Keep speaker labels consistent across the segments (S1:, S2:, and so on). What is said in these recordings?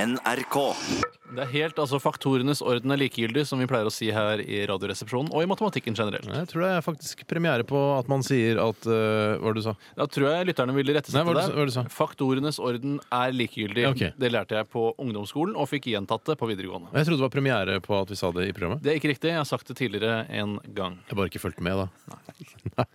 S1: NRK.
S2: Det er helt altså faktorenes orden er likegyldig, som vi pleier å si her i Radioresepsjonen og i matematikken generelt.
S3: Jeg tror det er faktisk premiere på at man sier at eh, Hva var det du sa?
S2: Da tror jeg lytterne ville
S3: Nei, hva
S2: rettesette
S3: var det
S2: deg.
S3: du- hva var det du sa?
S2: Faktorenes orden er likegyldig.
S3: Ok.
S2: Det lærte jeg på ungdomsskolen og fikk gjentatt det på videregående.
S3: Jeg trodde det var premiere på at vi sa det i programmet.
S2: Det er ikke riktig. Jeg har sagt det tidligere en gang.
S3: Jeg bare ikke fulgte med, da. Nei.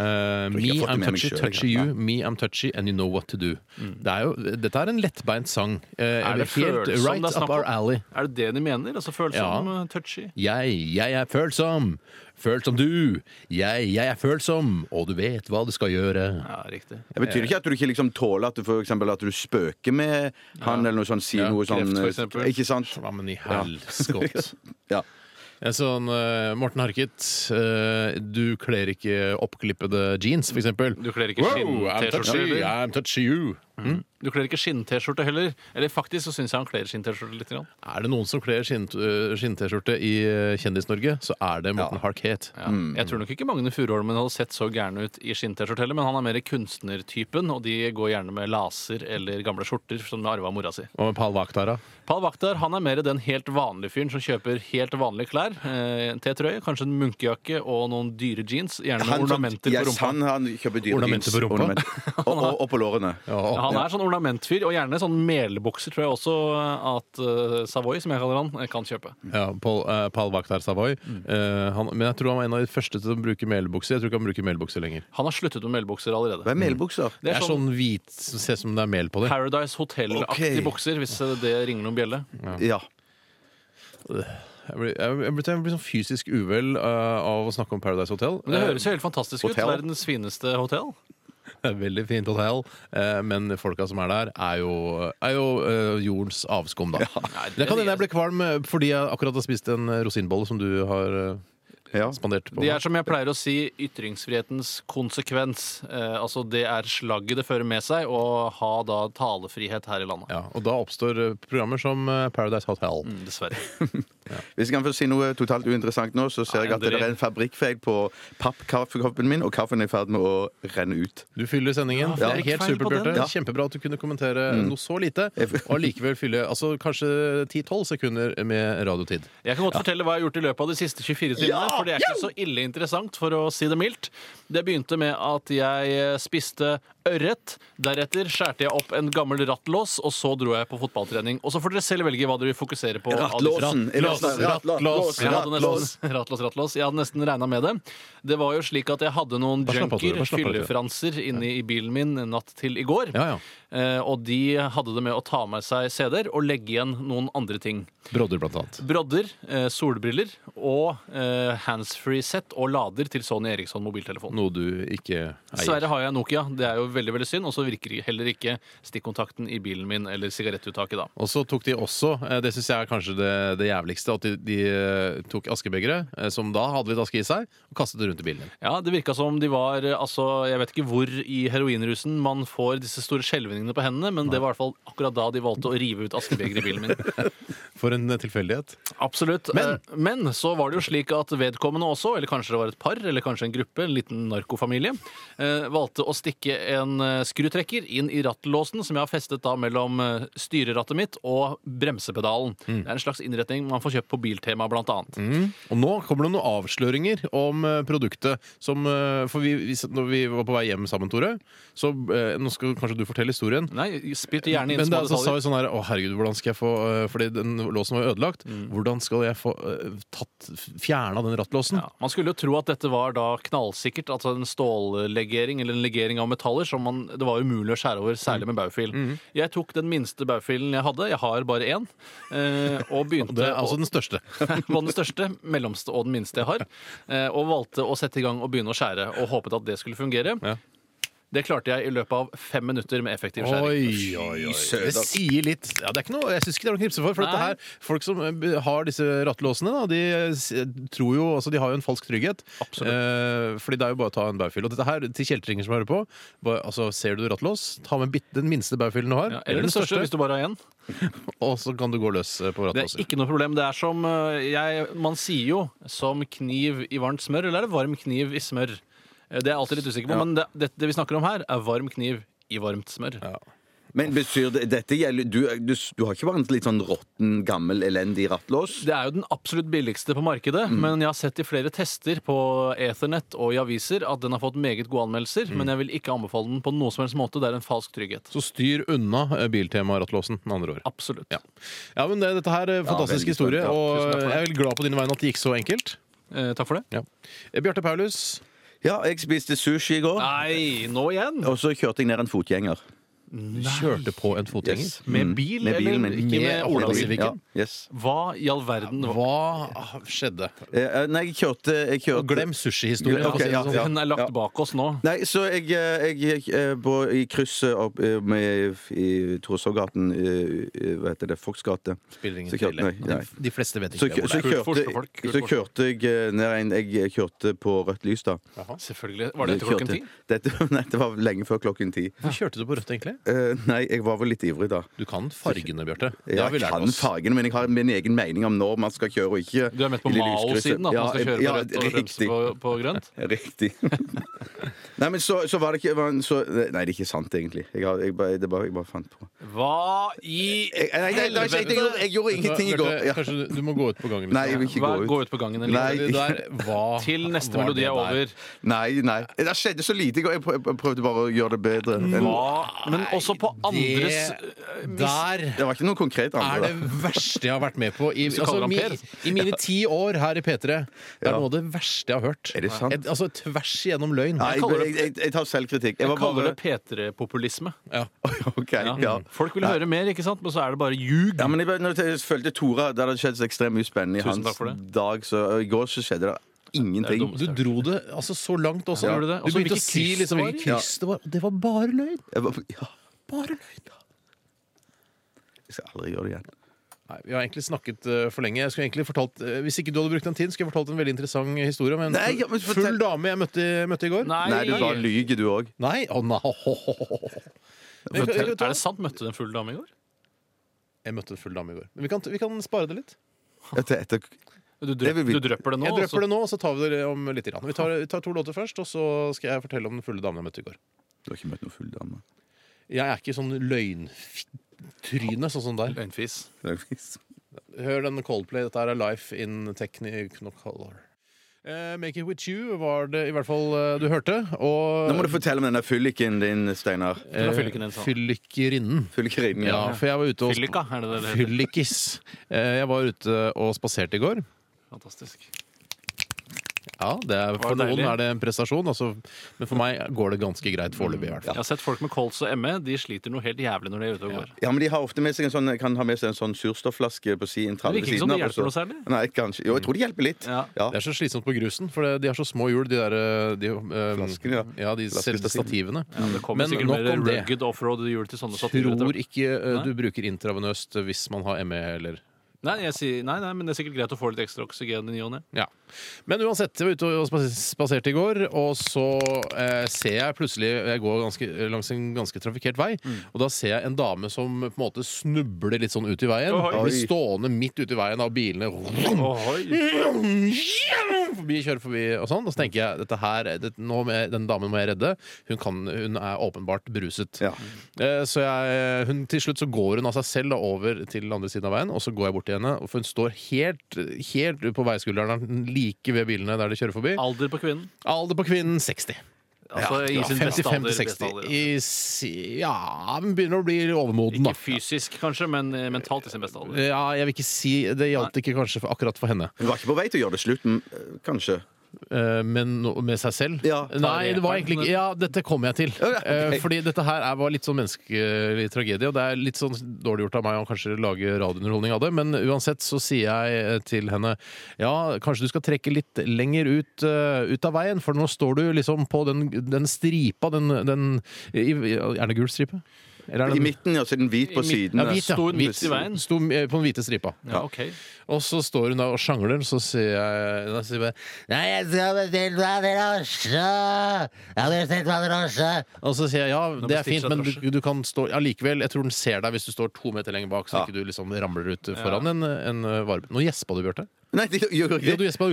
S3: Eh,
S1: ikke
S3: me,
S1: jeg har fått
S3: I'm
S1: med meg
S3: touchy,
S1: selv,
S3: touchy
S1: ikke?
S3: you. Me, I'm touchy, and you know what to do. Det er jo, dette er en lettbeint sang. Eh,
S2: Er det
S3: helt
S2: følsom
S3: right
S2: det er snakk
S3: up our
S2: om?
S3: alley.
S2: Er det det de mener? Altså Følsom,
S3: Ja.
S2: eh, touchy?
S3: Jeg, jeg er følsom. Følsom du. Jeg, jeg er følsom. Og du vet hva du skal gjøre.
S2: Ja, riktig.
S1: Det betyr ikke at du ikke liksom tåler at du, for eksempel, at du spøker med han eller noe sånt. Sier
S3: Ja,
S1: noe
S2: kreft,
S1: sånn
S2: for eksempel.
S1: Ikke sant?
S3: Hva men i helskott.
S1: Ja.
S3: Jeg så en, eh, Morten Harket, eh, du kler ikke oppklippede jeans, for eksempel.
S2: Du kler ikke
S3: Wow, I'm
S2: skinn-T-skjorte
S3: touchy,
S2: heller.
S3: I'm touchy you.
S2: Du kler ikke skinn-T-skjorte heller. Eller faktisk så syns jeg han kler skinn-T-skjorte litt. Grann.
S3: Er det noen som kler skinn- øh, skinn-T-skjorte i øh, Kjendis-Norge, så er det Morten Harket.
S2: Ja.
S1: Mm.
S2: Jeg tror nok ikke Magne Furuholmen hadde sett så gæren ut i skinn-T-skjorte heller, men han er mer kunstnertypen, og de går gjerne med laser eller gamle skjorter som de arva av mora si.
S3: Og med Pal Vakhtara.
S2: Pal Vaktar han er mer den helt vanlige fyren som kjøper helt vanlige klær. Eh, T-trøye, kanskje en munkejakke og noen dyre jeans. Gjerne med
S1: Han, som-
S2: ornamenter på
S1: yes,
S2: rumpa.
S1: han, han kjøper dyre
S3: Ornamenter
S1: jeans.
S3: på rumpa.
S1: Ornament. Og, og, og på lårene.
S2: Ja, han er sånn ornamentfyr, og gjerne sånn melbukser tror jeg også at eh, Savoy, som jeg kaller han, kan kjøpe.
S3: Ja, Pal, øh, Pal Vaktar Savoy.
S2: Mm.
S3: Eh, han, men jeg tror han var en av de første til å bruke melbukser. Jeg tror ikke han bruker melbukser lenger.
S2: Han har sluttet med melbukser
S1: Hva
S2: allerede.
S1: er melbukser?
S3: Det er, sånn hvit som ser ut som det er mel på det.
S2: Paradise Hotel-aktige
S1: Ok.
S2: bukser, hvis eh, det ringer noen bjelle.
S1: Ja.
S3: Jeg blir, jeg blir, jeg blir, jeg blir sånn fysisk uvel øh, av å snakke om Paradise Hotel.
S2: Men det høres jo helt fantastisk ut.
S1: Hotel.
S2: Verdens fineste hotell.
S3: Det er et Veldig fint hotell, eh, men folka som er der, er jo, er jo eh, jordens avskum, da.
S2: Nei,
S3: Det kan
S2: de,
S3: hende jeg ble kvalm eh, fordi jeg akkurat har spist en eh, rosinbolle som du har eh,
S1: ja.
S3: spandert på.
S2: de er
S3: meg.
S2: som jeg pleier å si, ytringsfrihetens konsekvens. Eh, altså det er slagget det fører med seg, å ha da talefrihet her i landet.
S3: Ja, og da oppstår eh, programmer som eh, Paradise Hotel.
S2: Mm, Dessverre.
S1: Hvis jeg kan få si noe totalt uinteressant nå, så ser jeg at det
S2: Endelig.
S1: er en fabrikkfeil på pappkaffekoppen min, og kaffen er i ferd med å renne ut.
S3: Du fyller sendingen.
S2: Ja,
S3: det er helt
S2: feil på
S3: supert, Bjarte.
S2: den.
S1: Ja.
S3: Kjempebra at du kunne kommentere noe så lite,
S1: Jeg-
S3: og allikevel fylle altså, kanskje 10-12 sekunder med radiotid.
S2: Jeg kan godt fortelle hva jeg har gjort i løpet av de siste 24 timene.
S1: Ja!
S2: For det er ikke så ille interessant, for å si det mildt. Det begynte med at jeg eh, spiste ørret. Deretter skjærte jeg opp en gammel rattlås, og så dro jeg på fotballtrening. Og så får dere selv velge hva dere vil fokusere på. av disse-
S1: Rattlåsen! er det sånn?
S3: Rattlås,
S1: Rattlås,
S2: Jeg hadde
S1: rattlås.
S2: nesten, rattlås, rattlås. Jeg hadde nesten regna med det. Det var jo slik at jeg hadde noen
S3: Bare slapp av, Tore,
S2: junker,
S3: bare slapp av, Tore.
S2: fyllefranser, inni i bilen min natt til i går.
S3: Ja, ja.
S2: Eh, og de hadde det med å ta med seg CD-er og legge igjen noen andre ting.
S3: Brodder, blant annet.
S2: Brodder, eh, solbriller og eh, handsfree-sett og lader til Sony Eriksson mobiltelefon.
S3: Noe du ikke eier.
S2: Dessverre har jeg Nokia. Det er jo veldig veldig synd. Og så virker heller ikke stikkontakten i bilen min eller sigarettuttaket da.
S3: Og så tok de også, eh, det syns jeg er kanskje det, det jævligste, at de, de eh, tok askebegeret, eh, som da hadde litt aske i seg, og kastet det rundt i bilen. din.
S2: Ja, Det virka som de var eh, altså, Jeg vet ikke hvor i heroinrusen man får disse store skjelvningene på hendene, men det var i hvert fall akkurat da de valgte å rive ut askebegeret i bilen min.
S3: For en eh, tilfeldighet.
S2: Absolutt. Men. men så var det jo slik at vedkommende også, eller kanskje det var et par, eller kanskje en gruppe, en liten narkofamilie, eh, valgte å stikke en eh, skrutrekker inn i rattlåsen, som jeg har festet da mellom eh, styrerattet mitt og bremsepedalen. Det er en slags innretning man får kjøpt på Biltema, blant annet.
S3: Og nå kommer det noen avsløringer om eh, produktet som eh, For vi, vi, når vi var på vei hjem sammen, Tore, så eh, Nå skal kanskje du fortelle historien.
S2: Nei, spytt gjerne inn
S3: Men
S2: små
S3: da, så sa
S2: detaljer.
S3: vi sånn her Å, herregud, hvordan skal jeg få eh, Fordi den låsen var jo ødelagt.
S2: Mm.
S3: Hvordan skal jeg få eh, tatt fjerna den rattlåsen?
S2: Ja, man skulle jo tro at dette var da knallsikkert, altså en stållegering eller en legering av metaller som man, det var umulig å skjære over, særlig
S3: Mm.
S2: med baufil. Jeg tok den minste baufilen jeg hadde, jeg har bare én, eh, og begynte
S3: Det er
S2: å-
S3: altså den største.
S2: på den største, mellomste og den minste jeg har, eh, og valgte å sette i gang og begynne å skjære, og håpet at det skulle fungere.
S3: Ja.
S2: Det klarte jeg i løpet av fem minutter med effektiv skjæring.
S3: Oi, oi, oi.
S1: søren,
S3: Det
S1: altså.
S3: sier litt ja, det er ikke noe, Jeg syns ikke det er noe å knipse for. for dette
S2: Nei.
S3: her, Folk som eh, har disse rattlåsene, da, de, eh, s- tror jo, altså, de har jo en falsk trygghet. Eh, fordi det er jo bare å ta en baufil. Og dette her, til kjeltringer som hører på, bare, altså, ser du rattlås, ta med bitt- den minste baufilen du har,
S2: Ja, eller den største, hvis du bare har én.
S3: og så kan du gå løs eh, på
S2: Det er
S3: rattlåser.
S2: ikke noe problem. Det er som eh, jeg, Man sier jo 'som kniv i varmt smør', eller er det 'varm kniv i smør'? Eh, Det er jeg alltid litt usikker på, men det, det, det vi snakker om her, er varm kniv i varmt smør.
S3: Ja.
S1: Men betyr det dette gjelder, du, du, du har ikke bare en litt sånn råtten, gammel, elendig rattlås?
S2: Det er jo den absolutt billigste på markedet, men jeg har sett i flere tester på Ethernet og i aviser at den har fått meget gode anmeldelser, men jeg vil ikke anbefale den på noen som helst måte. Det er en falsk trygghet.
S3: Så styr unna eh, biltema-rattlåsen, med andre ord.
S2: Absolutt.
S3: Ja. ja, men det, dette her er en fantastisk
S1: veldig
S3: historie,
S1: spennende. Ja,
S3: og eh,
S2: tusen takk for
S3: jeg
S2: det.
S3: er veldig glad på dine vegne at det gikk så enkelt.
S2: Eh, takk for det.
S3: Ja. Eh, Bjarte Paulus,
S1: Ja, jeg spiste sushi i går,
S2: Nei, nå igjen!
S1: og så kjørte jeg ned en fotgjenger.
S3: du kjørte på en fotgjenger.
S1: Yes.
S2: Med bil,
S1: Med bilen min.
S2: eller ikke med
S3: Med
S2: Ola
S3: bil.
S2: Sivik?
S1: Ja, yes.
S2: Hva i all verden var
S3: Hva skjedde?
S1: Eh, eh, nei, jeg kjørte, jeg kjørte
S3: Og glem sushihistorien. for
S1: Ok,
S3: å si det
S1: ja,
S3: sånn.
S1: ja.
S2: Den er lagt bak oss nå.
S1: Nei, så jeg, eh, jeg, gikk, eh, på, i krysset opp eh, med, i Torshov-gaten eh, eh, Hva heter det? Folks gate.
S3: Spiller ingen
S1: Så kjørte-
S3: rolle.
S1: nei, nei.
S3: De fleste vet
S1: Så,
S3: ikke hvor
S1: så,
S3: det er.
S2: Kult
S1: kjørte,
S2: forskerfolk, kult
S1: så kjørte jeg eh, ned en Jeg kjørte på rødt lys, da.
S2: Selvfølgelig. Var det etter
S1: Jeg
S2: klokken ti?
S1: kjørte- Dette, nei, det var lenge før klokken ti.
S3: Hvorfor kjørte du på rødt, egentlig?
S1: Eh, nei, jeg var vel litt ivrig da.
S3: Du kan fargene, Bjarte. Det har vi
S1: Jeg
S3: lært
S1: kan
S3: oss.
S1: fargene, men jeg har min egen mening om når man skal kjøre og ikke.
S2: Du er med på
S1: i lille lyskrysset.
S2: Mao-siden, at man skal
S1: Ja,
S2: kjøre på
S1: ja,
S2: rødt og bremse
S1: riktig.
S2: på, på grønt?
S1: Riktig. nei, men så, så var det ikke var en- så, Nei, det er ikke sant, egentlig. Jeg, har, jeg, bare, det bare, jeg bare fant på.
S2: Hva i
S1: Jeg, nei, nei, nei, jeg, jeg, gjorde- jeg gjorde ingenting i går.
S3: Bjarte,
S1: Ja.
S3: Kanskje du, du må gå ut på gangen?
S1: Nei, jeg vil ikke
S2: Hva,
S1: gå
S2: Gå
S1: ut.
S2: ut på gangen
S1: Nei.
S2: eller?
S3: Det der, hva
S2: Til neste
S3: var
S2: melodi
S3: det
S2: er
S3: der?
S2: over.
S1: Nei, nei. Det skjedde så lite i går. Jeg prøv- jeg prøvde bare å gjøre det bedre. enn-
S2: Hva? Men også på andres øh,
S3: Det der
S1: Det var ikke noe konkret.
S3: er
S1: Andre,
S3: det verste jeg har vært med på i,
S2: Så kaller
S3: altså,
S2: han
S3: mi,
S2: Per.
S3: i mine ti år her i P3. Det er
S1: Ja.
S3: noe av det verste jeg har hørt.
S1: Er det sant?
S3: Et, altså tvers igjennom løgn.
S1: Nei,
S2: kaller
S1: jeg,
S2: det-
S1: jeg, jeg tar selvkritikk. Jeg
S2: Jeg
S1: var
S2: kaller det
S1: bare
S2: P3-populisme.
S3: Ja.
S1: OK.
S2: Ja.
S1: Ja.
S2: Folk vil høre mer, ikke sant? men så er det bare ljug.
S1: Ja, men jeg, bare- når jeg følte Tora Det hadde skjedd så ekstremt mye spennende i
S2: Tusen takk
S1: hans
S2: for det.
S1: dag, så i går så skjedde det ingenting.
S2: dumt.
S3: Du dro det altså så langt også.
S2: Ja. Gjorde det?
S3: Du
S2: Også
S3: begynte å
S2: hvilke
S3: si
S2: kryss
S3: liksom,
S2: det var
S3: hvilke
S1: i. Ja.
S3: kryss det var. Og det var bare løgn!
S1: Jeg, var, ja,
S3: Bare løgn.
S1: jeg skal aldri gjøre det igjen.
S3: Nei, Vi har egentlig snakket eh, for lenge. Jeg skulle egentlig fortalt, eh, hvis ikke du hadde brukt den tiden, skulle jeg fortalt en veldig interessant historie om en
S1: Nei, ja, men fortell-
S3: full dame jeg møtte, møtte i går.
S2: Nei.
S1: Nei, du bare lyver, du òg.
S3: Nei. Å, nei. Men, eh,
S2: Fortell,
S3: jeg,
S2: er det sant? Møtte du en full dame i går?
S3: jeg møtte en full dame i går. Men vi kan, vi kan spare det litt.
S1: Etter, etter,
S2: Du,
S1: Det vil
S2: drøp,
S1: vi-
S2: du drøpper det nå? altså. og
S3: Jeg
S2: så-
S3: drøpper det nå, altså. og så tar vi det om litt. Grann. Vi tar, vi tar to låter først, og så skal jeg fortelle om den fulle damen jeg møtte i går.
S1: du har ikke møtt noen full dame.
S3: Jeg er ikke sånn løgntryne, sånn som der.
S2: Løgnfis.
S3: Hør den Coldplay. Dette her er Life in Technicolor. Eh, Make it with you var det i hvert fall eh, du hørte. Og
S1: Nå må du fortelle om denne fylliken din, Steinar.
S2: Det var fylliken din, sa han.
S3: Fyllikerinnen.
S1: Fyllikerinnen.
S3: Ja, for jeg var ute og
S2: Fyllika, er det det det heter?
S3: Fyllikis. Eh, Jeg var ute og spaserte i går.
S2: Fantastisk.
S3: Ja, det er, For
S2: deilig.
S3: noen er det en prestasjon, altså, men for meg går det ganske greit foreløpig. i hvert
S2: Jeg har
S3: fall
S2: sett folk med kols og ME. De sliter noe helt jævlig når de er ute og går.
S1: Ja, men de har ofte med seg en sånn, kan ha med seg en sånn surstoffflaske på si, en tralle
S2: Det virker ikke som det hjelper noe særlig.
S1: Nei, kanskje. Jo, jeg tror det hjelper litt.
S2: Ja.
S1: Ja.
S3: Det er så slitsomt på grusen, for det- de har så små hjul, de der eh, de, eh,
S1: Flaskene, ja.
S3: ja, de selve stativene.
S1: Flaskestativene.
S2: Ja, det kommer
S3: Men
S2: sikkert
S3: nok
S2: mer
S3: om det.
S2: rugged offroad hjul til sånne stativer. etter
S3: Tror
S2: hvert.
S3: ikke eh, du
S2: Nei.
S3: bruker intravenøst hvis man har ME eller
S2: Nei, jeg sier, nei, nei, men det er sikkert greit å få litt ekstra oksygen i ny og ne.
S3: Ja. Men uansett, jeg var ute og spas- spaserte i går, og så eh, ser jeg plutselig Jeg går ganske, langs en ganske trafikkert vei, og da ser jeg en dame som på en måte snubler litt sånn ut i veien.
S2: Ohoi.
S3: Blir stående midt ute i veien av bilene. Forbi, kjører forbi og sånn. Og så tenker jeg dette her, det, nå med, den damen må jeg redde. Hun, kan, hun er åpenbart beruset.
S1: Ja.
S3: Eh, Så jeg, hun, til slutt så går hun av seg selv da, over til den andre siden av veien, og så går jeg bort til henne. og For hun står helt, helt på veiskulderen, like ved bilene der de kjører forbi.
S2: Alder på kvinnen?
S3: Alder på kvinnen 60.
S2: Altså i
S3: Ja,
S2: sin beste alder.
S3: 55-60.
S2: beste alder, altså.
S3: I si- Ja, hun begynner å bli overmoden, da.
S2: Ikke fysisk, kanskje, men eh, mentalt i sin beste alder.
S3: Ja, jeg vil ikke si Det gjaldt ikke kanskje for, akkurat for henne,
S1: Hun var ikke på vei til å gjøre det slutt, men, øh, kanskje.
S3: Eh, men no- med seg selv.
S1: Ja, ta
S3: Nei,
S2: det.
S3: det var egentlig ikke Ja, dette kommer jeg til.
S1: Ja, ja, ok.
S3: Eh, Fordi dette her er, var litt sånn menneskelig tragedie, og det er litt sånn dårlig gjort av meg å kanskje lage radiounderholdning av det, men uansett så sier jeg eh, til henne ja, kanskje du skal trekke litt lenger ut, eh, ut av veien, for nå står du liksom på den, den stripa, den, den i, Er det gul stripe? Eller er
S1: I
S3: den-
S1: midten, ja, så er den hvit på
S2: I midten.
S1: siden.
S3: Ja, hvit, ja.
S2: Sto hun
S3: Hvit.
S2: midt i veien?
S3: Sto eh, på den hvite stripa.
S2: Ja, ok.
S3: Og så står hun da og sjangler, så sier jeg Da sier jeg bare Nei, jeg skal bestille meg en drosje! Jeg har bestilt meg en drosje! Og så sier jeg ja, det er
S2: bestilte
S3: fint,
S2: seg
S3: men du,
S2: drosje.
S3: du kan stå Allikevel, jeg tror den ser deg hvis du står to meter lenger bak, så
S1: Ja.
S3: ikke du liksom ramler ut foran en, en varebil. Nå gjespa du, Bjarte.
S1: Nei, det gjør
S3: Ja,
S1: ikke
S3: du
S1: det.
S3: gjespa.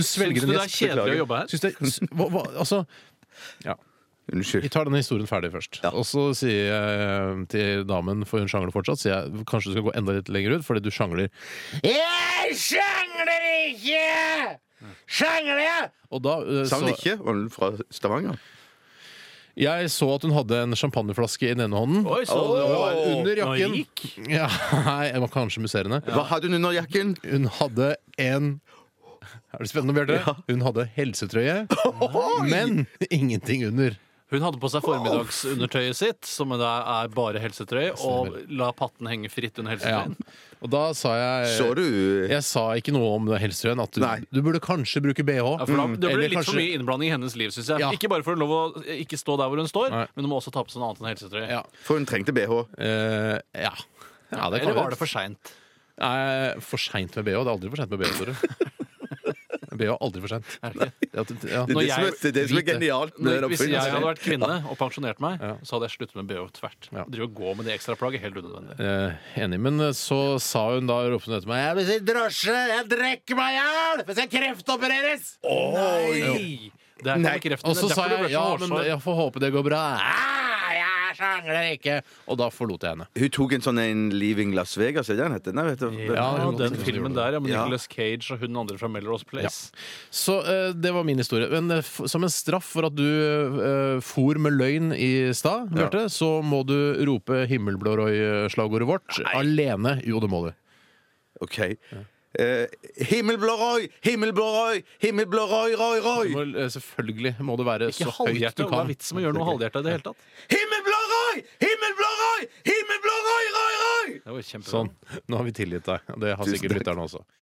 S2: Syns
S3: svelger
S2: du
S3: en
S2: det er
S3: gjesp.
S2: kjedelig å
S1: beklager.
S2: jobbe her?
S3: Syns det hva, hva, Altså Ja.
S1: Unnskyld.
S3: Vi tar denne historien ferdig først. Og så sier jeg til damen, for hun sjangler fortsatt, sier jeg kanskje du skal gå enda litt lenger ut, fordi du sjangler. Jeg sjangler ikke! Sjangler jeg? Og da eh,
S1: Sa hun
S3: så,
S1: ikke? Var hun fra Stavanger?
S3: Jeg så at hun hadde en champagneflaske i den ene hånden.
S2: Oi, så det var
S3: Og under jakken
S2: Naik.
S3: Ja, Nei, jeg var kanskje musserende.
S1: Hva hadde hun under jakken?
S3: Hun hadde en Er det spennende, Bjarte? Hun hadde helsetrøye, men ingenting under.
S2: Hun hadde på seg formiddagsundertøyet sitt, som da er bare helsetrøye, og la patten henge fritt under
S3: Ja.
S2: helsetrøyen.
S3: Og da sa
S2: Eh,
S3: jeg
S1: Så du eh,
S3: Jeg sa ikke noe om det helsetrøyen. At du,
S1: Nei.
S3: du burde kanskje bruke bh.
S2: Ja, for da, det ble
S3: Mm. Eller
S2: litt for
S3: kanskje-
S2: mye innblanding i hennes liv, syns jeg.
S3: Ja.
S2: Ikke bare for å lov å ikke stå der hvor hun står,
S3: Nei.
S2: men hun må også ta på seg noe annet enn helsetrøye.
S3: Ja.
S1: For hun trengte BH.
S3: Eh, ja. ja det kan
S2: Eller var
S3: vi.
S2: det for seint?
S3: Nei, for seint med bh? Det er aldri for seint med bh, Tore. bh er aldri for seint. Ja, det- ja.
S1: Det er
S2: Når
S1: det, som er,
S2: jeg-
S1: det, er det som er
S3: vite.
S1: genialt med den
S2: Hvis jeg hadde
S1: oppfinnelsen.
S2: vært kvinne og pensjonert meg,
S3: Ja.
S2: så hadde jeg sluttet med BH tvert.
S3: Ja.
S2: Drive og gå med det ekstraplagget, helt unødvendig.
S3: Eh, enig, men så sa hun da ropte hun etter meg Jeg vil si drosje! Jeg drikker meg i hjel! Hvis jeg kreftopereres!
S2: Nei! Det er
S1: Nei.
S2: ikke kreften.
S3: Og så
S2: det er
S3: sa
S2: derfor du ble
S3: jeg ja,
S2: så
S3: men
S2: hårsår.
S3: jeg får håpe det går bra. Ah, jeg sjangler ikke! Og da forlot jeg henne.
S1: Hun tok en sånn en Leaving Las Vegas, er det den heter? Nei, vet du.
S2: Ja,
S3: hun-
S2: den filmen der, ja, med
S1: Ja.
S2: Nicolas Cage og hun andre fra Melrose Place.
S3: Så eh, det var min historie. Men eh, f som en straff for at du eh, for med løgn i stad,
S1: Ja.
S3: Bjarte, så må du rope Himmelblå Roy-slagordet vårt alene. Jo, det må du.
S1: OK. Eh, himmelblå Roy, himmelblå Roy, himmelblå Roy, Roy,
S3: du
S1: Roy!
S3: må, eh, selvfølgelig må det være
S2: Ikke
S3: så høyt
S2: halvhjertet.
S3: du
S2: Hva er
S3: kan.
S2: vitsen med å gjøre noe halvhjertet i det hele tatt?
S1: Himmelblå Roy, himmelblå Roy, himmelblå Roy, Roy, Roy!
S2: Det var kjempebra.
S3: Sånn. Nå har vi tilgitt deg. Det har
S1: Tusen
S3: sikkert
S1: takk.
S3: lytterne også.